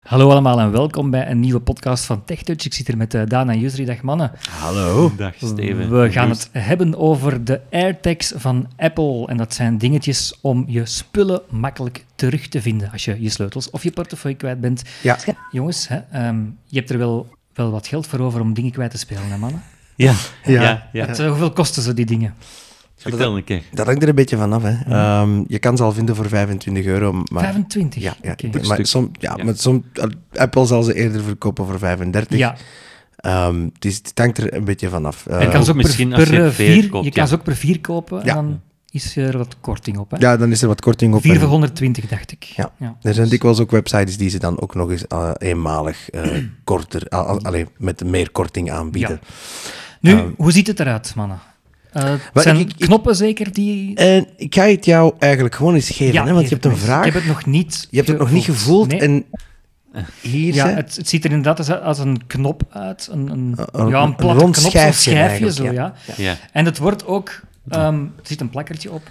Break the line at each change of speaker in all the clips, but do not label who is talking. Hallo allemaal en welkom bij een nieuwe podcast van TechTouch. Ik zit hier met eh, Daan en Yusri. Dag mannen.
Hallo.
Dag Steven.
We gaan het hebben over de AirTags van Apple. En dat zijn dingetjes om je spullen makkelijk terug te vinden als je je sleutels of je portefeuille kwijt bent.
Ja.
Jongens, hè, ehm, je hebt er wel, wel wat geld voor over om dingen kwijt te spelen, hè mannen?
Ja,
Ja.
ja, ja.
Wat, eh, hoeveel kosten ze die dingen?
Vertel een keer.
Dat hangt er een beetje vanaf. Hè. Ehm, je kan ze al vinden voor 25 euro. Maar,
25?
Ja, ja,
Oké.
ik- maar,
Stuk.
som, ja,
Ja.
maar som, Apple zal ze eerder verkopen voor 35.
Ja,
Ehm, het, is, het hangt er een beetje vanaf.
en je kan
Eh,
ze ook
Oh, misschien
per,
als je
per, eh,
vier
vier,
koopt,
je kan
ja.
ze ook per vier kopen en
Ja.
dan is er wat korting op. Hè?
Ehm, ja, dan is er wat korting op.
Vier
en-
voor 120, dacht ik.
Ja. Er zijn dikwijls ook websites die ze dan ook nog eens eh, eenmalig eh, korter, al- al- allee, met meer korting aanbieden.
Nu, hoe ziet het eruit, mannen? Eh, het
Maar
zijn
Ehm, ik- ik-
knoppen zeker die...
En ik ga het jou eigenlijk gewoon eens geven, hè, want je hebt een
even-
vraag.
Ik heb het nog niet
je hebt het nog niet gevoeld.
Nee.
En hier,
ja,
hè,
het, het ziet er inderdaad als, als een knop uit. Een, een,
een-
ja,
een
een platte
rond
knop, zo'n
schijfje
schijfje
eigenlijk,
zo,
ja.
ja.
Ja.
En het wordt ook... ehm, er zit een plakkertje op.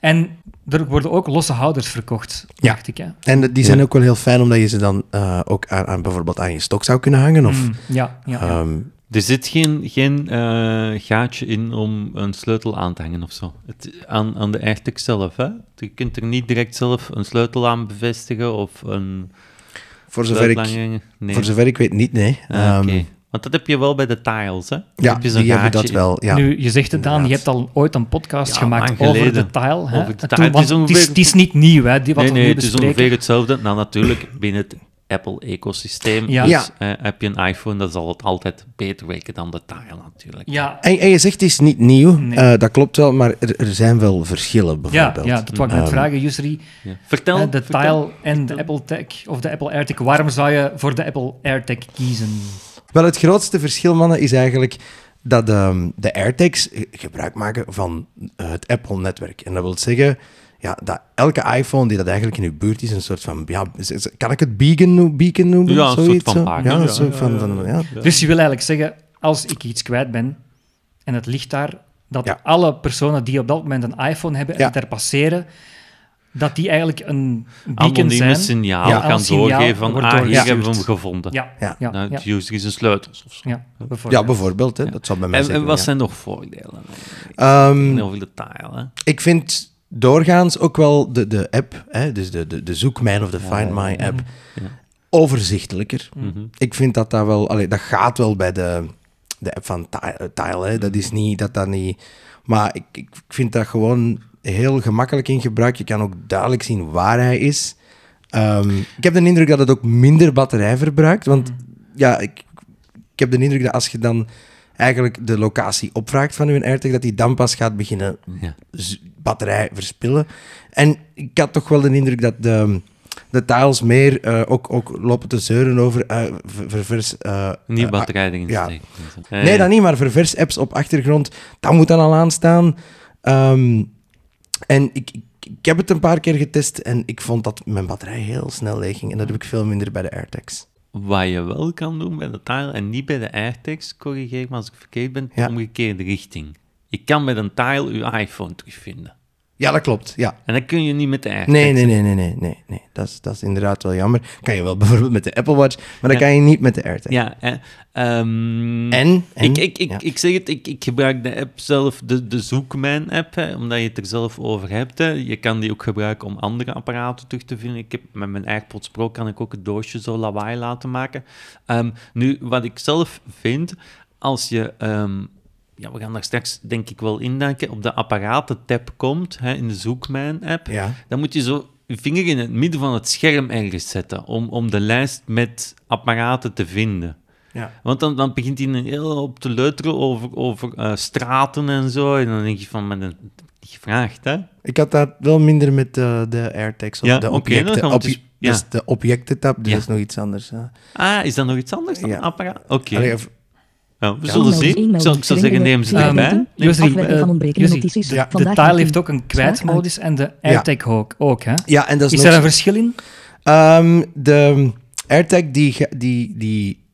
En er worden ook losse houders verkocht,
Ja.
dacht ik. Hè?
En de- die zijn ook wel heel fijn, omdat je ze dan eh, ook aan, aan bijvoorbeeld aan je stok zou kunnen hangen. Of,
Mm, ja, ja, ja.
ehm,
Er zit geen, geen eh, gaatje in om een sleutel aan te hangen of zo. Het, aan, aan de AirTag zelf, hè? Je kunt er niet direct zelf een sleutel aan bevestigen of een
voor, zover
sleutel
ik,
aan hangen. Nee.
voor zover ik weet niet, nee.
Ah,
Ehm,
Oké. Want dat heb je wel bij de tiles, hè? Dan
Ja,
heb je zo'n
die hebben
gaatje
dat
in.
wel. Ja.
nu, je zegt het, Daan, je
inderdaad.
hebt al ooit een podcast
Ja,
gemaakt
lang
over de
geleden.
tile. Hè?
Over de
En
tile.
Toen,
Het
want het, is,
is ongeveer-
het is niet nieuw, hè, die, wat
Nee,
we nu
nee, het is
bespreken.
ongeveer hetzelfde. Nou, natuurlijk, binnen het Apple-ecosysteem
Ja.
dus, eh, heb je een iPhone, dat zal het altijd beter werken dan de tile, natuurlijk.
Ja,
En, en je zegt het is niet nieuw,
Nee.
eh, dat klopt wel, maar er, er zijn wel verschillen
ja,
bijvoorbeeld.
ja, dat wou ik net
Ehm,
vragen, Yusri.
Ja. Vertel.
Eh, de
vertel.
Tile en de Apple Tech of de Apple AirTag. Waarom zou je voor de Apple AirTag kiezen?
Wel, het grootste verschil, mannen, is eigenlijk dat ehm, de AirTags gebruik maken van eh, het Apple-netwerk. En dat wil zeggen ja, dat elke iPhone die dat eigenlijk in uw buurt is, een soort van... Ja, is- is- kan ik het beacon, no- beacon noemen?
Ja, een soort
Zoiets,
van
zo?
pagina,
Ja, een
ja,
soort
ja,
van...
ja,
van ja.
Ja.
Dus je wil eigenlijk zeggen, als ik iets kwijt ben en het ligt daar, dat
Ja.
alle personen die op dat moment een iPhone hebben en
Ja.
het daar passeren, dat die eigenlijk een beacon
anonieme
zijn.
signaal
Ja,
kan
als signaal
doorgeven van
wordt
ah, hier
doorgestuurd.
hebben we hem gevonden.
Ja, ja,
Ja.
ja.
Nou,
ja,
het user is een sleutels of zo.
ja,
bijvoorbeeld.
bijvoorbeeld. Hè, dat zou bij mij
En,
zeker
en wat
ja.
zijn nog voordelen?
Ehm,
Heel veel detail, hè?
Ik vind doorgaans ook wel de, de app, hè, dus de, de, de Zoek Mijn of de Find My app, overzichtelijker. Ik vind dat dat wel, allee, dat gaat wel bij de, de app van Ti- eh, Tile. Hè. Dat is niet dat dat niet. Maar ik, ik ik vind dat gewoon heel gemakkelijk in gebruik. Je kan ook duidelijk zien waar hij is. Ehm, ik heb de indruk dat het ook minder batterij verbruikt. Want ja, ik, ik heb de indruk dat als je dan eigenlijk de locatie opvraagt van uw AirTag, dat die dan pas gaat beginnen
Ja.
z- batterij verspillen. En ik had toch wel de indruk dat de, de tiles meer eh, ook, ook lopen te zeuren over eh, ver- ververs... eh,
Niet
eh,
batterij erin Eh,
ja.
steken.
ah, nee, dat niet, maar ververs apps op achtergrond, dat moet dan al aanstaan. Ehm, en ik, ik, ik heb het een paar keer getest en ik vond dat mijn batterij heel snel leeg ging. En dat heb ik veel minder bij de AirTags.
Wat je wel kan doen bij de tile en niet bij de AirTags, corrigeer me als ik verkeerd ben,
Ja.
omgekeerde richting. Je kan met een tile je iPhone terugvinden.
Ja, dat klopt, ja.
En dat kun je niet met de AirTags.
Nee, nee, nee, nee, nee, nee, nee. Dat, is, dat is inderdaad wel jammer. Kan je wel bijvoorbeeld met de Apple Watch, maar dat
Ja.
kan je niet met de AirTag.
Ja, hè. Ehm,
En? En?
Ik, ik, ik,
Ja.
ik zeg het, ik, ik gebruik de app zelf, de, de Zoekmijn-app, hè, omdat je het er zelf over hebt. Hè. Je kan die ook gebruiken om andere apparaten terug te vinden. Ik heb, met mijn AirPods Pro kan ik ook het doosje zo lawaai laten maken. Ehm, nu, wat ik zelf vind, als je... ehm, ja, we gaan daar straks denk ik wel indenken. Op de apparaten-tab komt, hè, in de Zoekmijn-app,
Ja.
dan moet je zo je vinger in het midden van het scherm ergens zetten om, om de lijst met apparaten te vinden.
Ja.
Want dan, dan begint hij een heel hoop te leuteren over, over eh, straten en zo. En dan denk je van, maar dat heb ik niet gevraagd, hè?
Ik had dat wel minder met eh, de AirTags of
Ja,
de
oké,
objecten.
dan gaan we
Ob-
dus- ja.
Dus de objectentab, dus
Ja.
dat is nog iets anders. hè.
Ah, is dat nog iets anders dan
Ja.
een apparaat? Oké,
Allee, of-
Ja, we
Ja.
zullen
Mails,
zien. Ik
e-mails,
zou, ik zou zeggen, neem ze
ehm,
erbij. Neem ze
Jusri,
erbij.
afwerking
eh,
van ontbrekende
Jusri,
notities.
ja, de
De
Vandaag
Tile
meteen.
heeft ook een kwijtmodus en de AirTag ook, ook hè?
ja, en dat is,
Is
nog...
daar een verschil in?
Ehm, de AirTag, die, ge- die, die,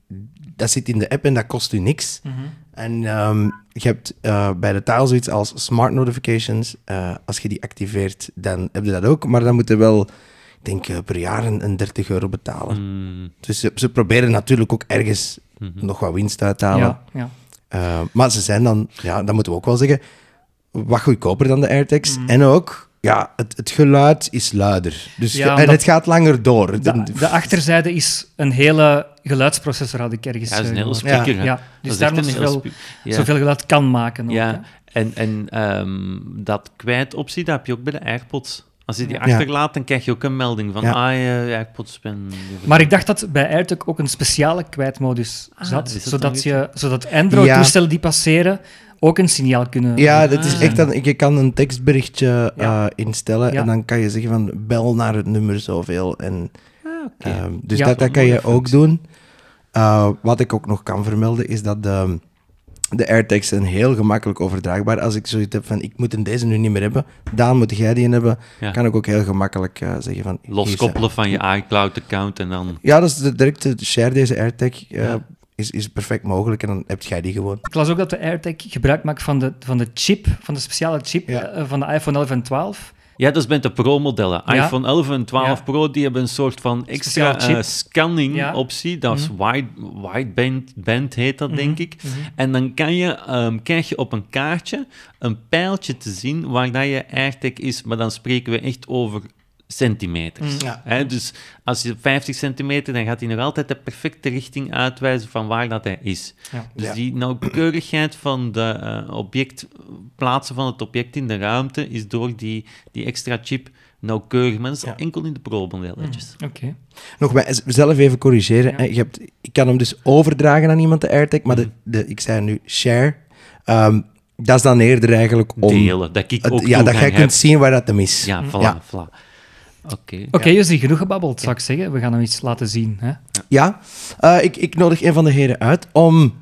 dat zit in de app en dat kost u niks.
Mhm.
En ehm, je hebt eh, bij de taal zoiets als smart notifications. Eh, als je die activeert, dan heb je dat ook. Maar dan moet je wel ik denk eh, per jaar een, een 30 euro betalen.
Mm, mhm.
Dus ze, ze proberen natuurlijk ook ergens nog wat winst uit te halen.
Ja, ja.
Eh, maar ze zijn dan, ja, dat moeten we ook wel zeggen, wat goedkoper dan de AirTags.
Mm.
En ook, ja, het, het geluid is luider. Dus
Ja,
ge- en
omdat-
het gaat langer door.
De, de achterzijde is een hele geluidsprocessor, had ik ergens
Ja, dat is een
eh,
hele
gehoord.
speaker. hè.
Ja,
Dat
dus
is
daar
echt
nog
een hele
zoveel,
spe- ja.
zoveel geluid kan maken. ook,
Ja,
hè.
en, en ehm, dat kwijtoptie, dat heb je ook bij de AirPods. Als je die
Ja.
achterlaat, dan krijg je ook een melding van,
Ja.
ah, je AirPods ben...
Maar ik dacht dat bij AirTag ook een speciale kwijtmodus zat,
is Ah, dat dan
zodat,
weer
je, zodat Android-toestellen die passeren ook een signaal kunnen...
Ja, dat is
Ah.
echt dan, je kan een tekstberichtje
Ja.
eh, instellen
Ja.
en dan kan je zeggen van bel naar het nummer zoveel. En,
Ah, oké.
ehm, dus
Ja.
dat, dat kan
Mooie
je ook
functie.
doen. Eh, wat ik ook nog kan vermelden is dat de, de AirTags zijn heel gemakkelijk overdraagbaar. Als ik zoiets heb van ik moet deze nu niet meer hebben, Daan moet jij die hebben,
Ja.
kan ik ook heel gemakkelijk eh, zeggen van... hier zijn-
Loskoppelen van je iCloud-account en dan...
Ja, dat is de, direct eh, share deze AirTag eh,
Ja.
is, is perfect mogelijk en dan heb jij die gewoon.
Ik las ook dat de AirTag gebruik maakt van de, van de chip, van de speciale chip
Ja.
eh, van de iPhone 11 en 12.
Ja, dat is met de Pro-modellen.
Ja.
iPhone 11 en 12
Ja.
Pro, die hebben een soort van
Speciaal
extra
chip.
eh,
Ja. Mhm.
scanning-optie. Dat is wide, wideband band heet dat, denk ik.
Mhm.
En dan kan je, ehm, krijg je op een kaartje een pijltje te zien waar dat je AirTag is. Maar dan spreken we echt over centimeters.
Mhm,
Ja.
Hè, dus als je 50 centimeter, dan gaat hij nog altijd de perfecte richting uitwijzen van waar dat hij is.
Ja.
Dus
Ja.
die nauwkeurigheid van de eh, object, plaatsen van het object in de ruimte is door die, die extra chip nauwkeurig. Maar dat is
Ja.
al enkel in de pro-modelletjes.
Oké.
Nog bij, zelf even corrigeren.
Ja.
Hè. Je hebt, ik kan hem dus overdragen aan iemand, de AirTag, maar de,
Mhm.
de, ik zei nu share. Ehm, dat is dan eerder eigenlijk om...
Delen, dat ik
het-
ook
ja, dat
toegang
jij
heb.
kunt zien waar dat hem is.
Ja, voilà,
Ja.
voilà. Oké.
Oké, Jussi, genoeg gebabbeld, zou ik zeggen. We gaan hem iets laten zien. Hè?
Ja. Eh, ik, ik nodig een van de heren uit om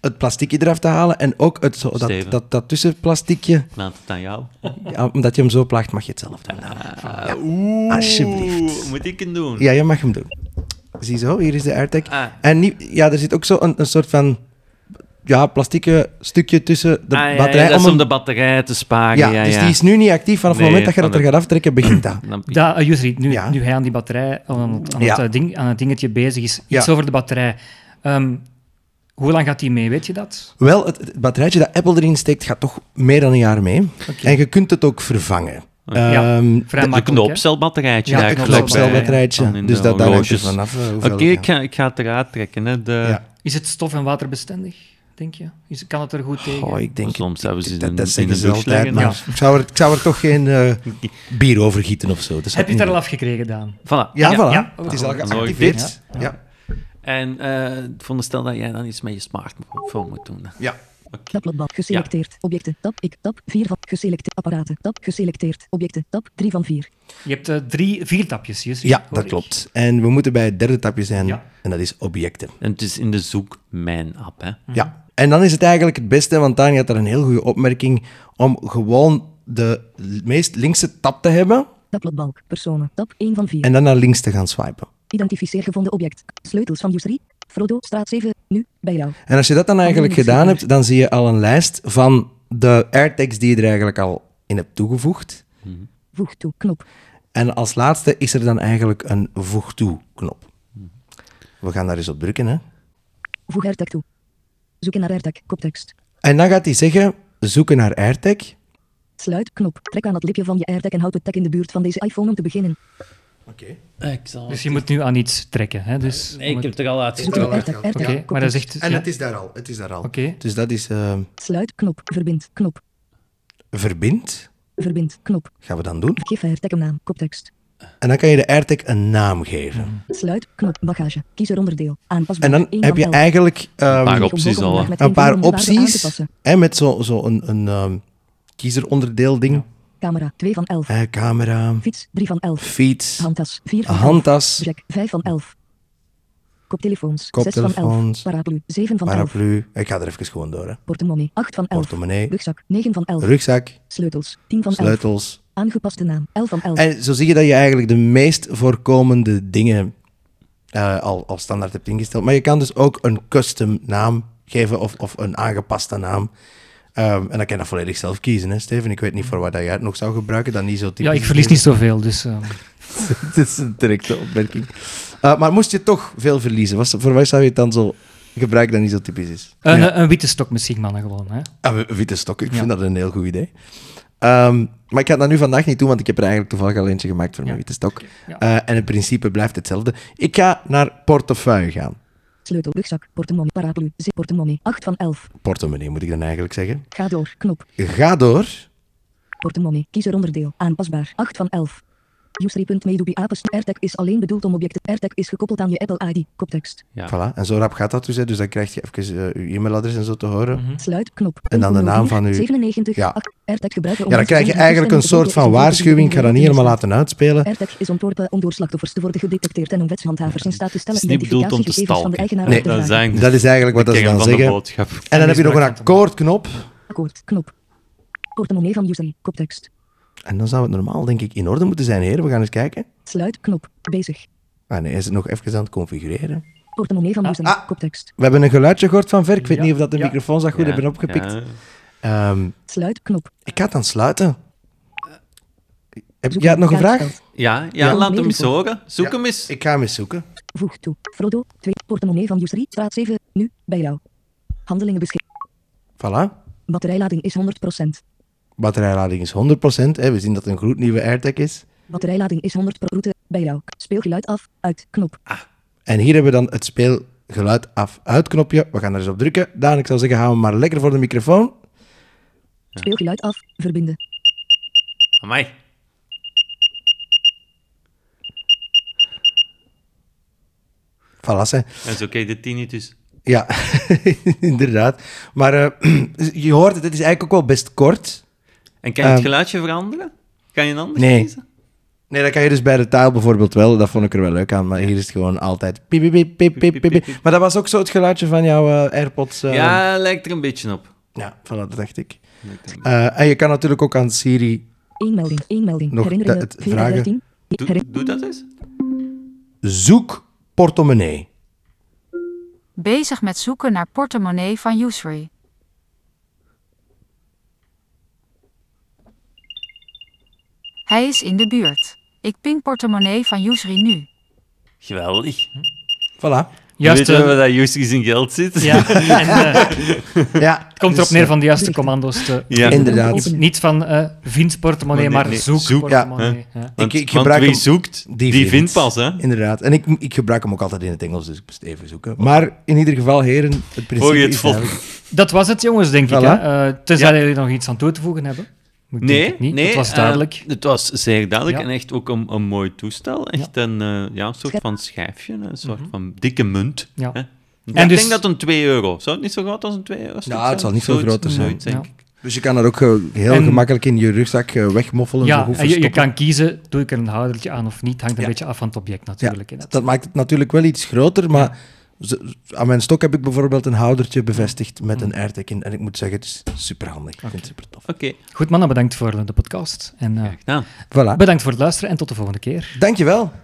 het plasticje eraf te halen en ook het, zo, dat,
Steven.
dat, dat tussenplasticje.
Ik Laat het aan jou. Ah,
Ja, omdat je hem zo plaagt, mag je het zelf doen. Ja. Alsjeblieft.
Oeh, moet ik het doen?
Ja, je mag hem doen. Ziezo, hier is de AirTag.
Ah.
En niet, ja, er zit ook zo een, een soort van ja, plastieke stukje tussen de
Ah, ja, ja,
batterij.
dat is
hem-
om de batterij te sparen.
ja,
Ja, ja,
dus die is nu niet actief. Vanaf
Nee,
het moment dat je
van
dat er
de-
gaat aftrekken, begint dat.
Dan-
Da, eh, Jussi, nu,
Ja.
nu hij aan die batterij, aan het, aan het,
Ja.
eh, ding, aan het dingetje bezig is, iets
Ja.
over de batterij. Ehm, hoe lang gaat die mee, weet je dat?
Wel, het, het batterijtje dat Apple erin steekt, gaat toch meer dan een jaar mee. En je kunt het ook vervangen.
Ja,
Ehm,
Vrij
Een
makkelijk. hè?
knoopcelbatterijtje.
Ja,
daar
een
het
komt
klopt,
bij.
kloopcelbatterijtje.
Dan in
Dus
de
dat, daar hangt er
horloges.
vanaf. eh, hoeveel
Oké,
dat
ik, eh, ga, ik ga het eruit trekken. Hè. De,
kan. Ja.
Is het stof- en waterbestendig, denk je? Is, kan het er goed tegen?
Oh, ik denk het
Soms hebben ze
niet.
het
dat,
in-
dat
in
zeggen
de
ze
lucht
altijd,
leggen,
maar
ja.
ik, zou er, ik zou er toch geen eh, bier over gieten of zo. Dus Dat zou
Heb je
ik
het er al
niet
afgekregen, gedaan?
Voilà.
doen. Ja, voilà.
ja.
Het is al
Nooit
geactiveerd. Ja.
En eh, ik veronderstel dat jij dan iets met je smartphone moet doen.
Ja.
Tabbladblad geselecteerd. Objecten. Tab ik. Tab 4 van geselecteerd. Apparaten. Tab geselecteerd. Objecten. Tab 3 van 4.
Je hebt eh, drie, vier tapjes, Jussi.
Ja,
hoor
dat
ik.
klopt. En we moeten bij het derde tapje zijn,
Ja.
en dat is objecten.
En het is in de zoek mijn app, hè.
Ja. En dan is het eigenlijk het beste, want Tani had daar een heel goede opmerking, om gewoon de meest linkse tab te hebben
Tabbladbalk. Personen. Tab 1 van 4.
en dan naar links te gaan swipen.
Identificeer gevonden object. Sleutels van Jusri. Frodo. Straat 7. Nu. Bij jou.
En als je dat dan eigenlijk
links
gedaan
gebeurt.
hebt, dan zie je al een lijst van de AirTags die je er eigenlijk al in hebt toegevoegd.
Voeg toe. Knop.
En als laatste is er dan eigenlijk een voeg toe knop. We gaan daar eens op drukken, hè.
Voeg AirTag toe. Zoeken naar AirTag. Koptekst.
En dan gaat hij zeggen, zoeken naar AirTag.
Sluit. Knop. Trek aan het lipje van je AirTag en houd het tag in de buurt van deze iPhone om te beginnen.
Oké.
Ik zal...
Dus je moet nu aan iets trekken. Hè? Dus,
Nee, ik heb het er al
Zoeken
uitgetrokken.
naar AirTag. AirTag.
Oké, maar dat
koptekst.
is echt...
En
ja,
het is daar al, het is daar al.
Oké.
Dus dat is eh,
Sluit. Knop. Verbind. Knop.
verbind,
Verbind. Knop.
gaan we dan doen.
Geef AirTag een naam. Koptekst.
En dan kan je de AirTag een naam geven.
Sluit. Knop. Bagage. Kies er onderdeel. Aanpasbaar.
En dan
één
heb
van
je
elf.
eigenlijk ehm,
Een paar
Om
opties al, hè.
hoger met
een
één
paar
van de eh, onderwaarde aan te
opties
passen.
hè, met zo'n zo een, een ehm, kiezeronderdeel ding.
Camera 2 van 11.
Eh, camera,
Fiets 3 van 11.
fiets,
Handtas 4 van 11.
handtas,
Jack 5 van 11. Koptelefoons 6 van 11.
Koptelefoons.
Paraplu 7 van 11.
paraplu. Ik ga er even gewoon door. Hè.
Portemonnee 8 van 11.
Portemonnee,
Rugzak 9 van 11.
rugzak,
Sleutels 10 van 11.
sleutels.
Aangepaste naam 11 van 11.
En zo zie je dat je eigenlijk de meest voorkomende dingen eh, al, al standaard hebt ingesteld. Maar je kan dus ook een custom naam geven of, of een aangepaste naam. Ehm, en dan kan je dat volledig zelf kiezen, hè, Steven. Ik weet niet voor wat dat jij het nog zou gebruiken, dan niet zo typisch.
Ja, ik verlies niet zoveel, dus... ehm,
Het is een terechte opmerking. Eh, maar moest je toch veel verliezen, was, voor wat zou je het dan zo gebruiken dat niet zo typisch is?
een,
Ja.
een witte stok met Sigmannen gewoon, hè.
Ah, w- witte stok, ik
Ja.
vind dat een heel goed idee. Ehm, maar ik ga dat nu vandaag niet doen, want ik heb er eigenlijk toevallig al eentje gemaakt voor mijn
Ja.
witte stok.
Ja.
Eh, en het principe blijft hetzelfde. Ik ga naar portefeuille gaan.
Sleutel, rugzak, portemonnee, paraplu, zip, portemonnee, 8 van 11.
Portemonnee moet ik dan eigenlijk zeggen.
Ga door, knop,
Ga door.
portemonnee, kiezer onderdeel, aanpasbaar, 8 van 11. Usery.medoebi apes, AirTag E is alleen bedoeld om objecten, AirTag is gekoppeld aan je Apple ID, koptekst.
Ja.
Voilà. En zo rap gaat dat dus. Hè. Dus dan krijg je even eh, je e-mailadres en zo te horen.
Mhm.
Sluit, knop.
En dan de naam van uw-
97,
Ja.
ja. AirTag gebruiken om...
Ja, dan krijg je eigenlijk een soort van waarschuwing. Ik ga dat niet helemaal laten uitspelen.
AirTag is ontworpen om door slachtoffers te worden gedetecteerd en om wetshandhavers in staat te stellen
Het is niet bedoeld om te
identificatiegegevens van de
stalken.
eigenaar
Nee,
op te
Dat
vragen.
is eigenlijk
Dat is eigenlijk wat
de
dat ze
kern
dan
van de
zeggen.
boodschap.
En dan heb je nog een
misbruik van te
akkoordknop.
Akkoord, knop. Portemonnee van user, koptekst.
En dan zou het normaal, denk ik, in orde moeten zijn, heren. We gaan eens kijken.
Sluit, knop, bezig.
Ah nee, is het nog even aan het configureren.
Portemonnee van user,
ah.
koptekst.
We hebben een geluidje gehoord van ver. Ik weet
Ja,
niet of dat de
ja.
microfoons dat goed
Ja,
hebben opgepikt.
ja.
Ehm,
Sluit, knop.
ik ga het dan sluiten. Heb
Zoek
jij het nog een vraag?
kaartveld.
Ja, ja, laat hem eens horen. Zoek hem eens.
Ik ga hem eens zoeken.
Voeg toe. Frodo, 2. Portemonnee van user, praat 7. Nu, bij jou. Handelingen beschikbaar.
Voilà.
Batterijlading is 100%.
Batterijlading is 100%. Hè. We zien dat het een gloednieuwe AirTag is.
Batterijlading is 100% route, bij jou. Speelgeluid af, uit, knop.
En hier hebben we dan het speelgeluid af uitknopje. We gaan er eens op drukken. Daan, ik zou zeggen, hou hem maar lekker voor de microfoon.
Speelgeluid af, verbinden.
Amai.
Voilà, hè.
En zo kijk je de tinnitus.
Ja, inderdaad. Maar eh, je hoort het, het is eigenlijk ook wel best kort.
En kan je het
Ehm.
geluidje veranderen? Kan je een ander
Nee.
kiezen?
Nee, dat kan je dus bij de taal bijvoorbeeld wel. Dat vond ik er wel leuk aan. Maar hier is het gewoon altijd... piep, piep, piep, piep, piep, piep, piep. Maar dat was ook zo het geluidje van jouw eh, AirPods. eh.
Ja, lijkt er een beetje op.
ja, voilà, dat dacht ik.
Lijkt er een-
Eh, en je kan natuurlijk ook aan Siri
Eén melding, één melding.
Nog
Herinneringen,
dat- het
4 uit
vragen.
13.
Doe,
Herinner-
doe dat eens.
zoek portemonnee.
Bezig met zoeken naar portemonnee van Usery. Hij is in de buurt. Ik ping portemonnee van Usery nu.
Geweldig.
Voilà.
Juist,
Weet je
eh,
waar dat juist in geld zit?
ja, en, eh,
Ja,
het komt erop
dus,
eh,
neer van de juiste
Berichten.
commando's te...
Ja.
Inderdaad.
Niet, niet van eh vind portemonnee,
Maar
maar
nee, nee,
zoek,
zoek,
ja.
portemonnee. Ja.
Want,
Ik- ik
want
gebruik
wie
hem-
zoekt, die, vindt. pas, hè?
Inderdaad. En ik, ik gebruik hem ook altijd in het Engels, dus ik moest even zoeken. Maar in ieder geval, heren, het principe
Voor je het
is
vol-
eigenlijk-
Dat was het, jongens, denk ik.
Voilà.
Hè? Eh, tenzij
Ja.
jullie nog iets aan toe te voegen hebben. Ik denk
Nee,
het niet.
nee.
Het was
eh,
duidelijk.
het was zeer duidelijk
Ja.
en echt ook een, een mooi toestel. Echt een, eh, ja, een soort
Schep-
van schijfje, een soort van dikke munt.
Mhm. Ja.
hè.
En dus-
ik
Nou,
denk dat een 2 euro. Zou het niet zo groot als een 2 euro? stuk
het
zijn?
zal niet veel
Zoiets-
groter zijn.
zoiets, denk
Ja.
ik.
Dus je kan dat ook eh, heel
En-
gemakkelijk in je rugzak eh, wegmoffelen. zo
ja,
goed
en je, je
verstoppen.
kan kiezen, doe ik er een houdertje aan of niet. Hangt een
Ja.
beetje af van het object
Ja,
natuurlijk. hè.
dat maakt het natuurlijk wel iets groter, maar zo- aan mijn stok heb ik bijvoorbeeld een houdertje bevestigd met een AirTag in. En ik moet zeggen, het is superhandig. Ik vind het super tof.
Oké,
Goed mannen, bedankt voor de podcast. En eh,
graag gedaan.
Voilà.
bedankt voor het luisteren en tot de volgende keer.
Dankjewel.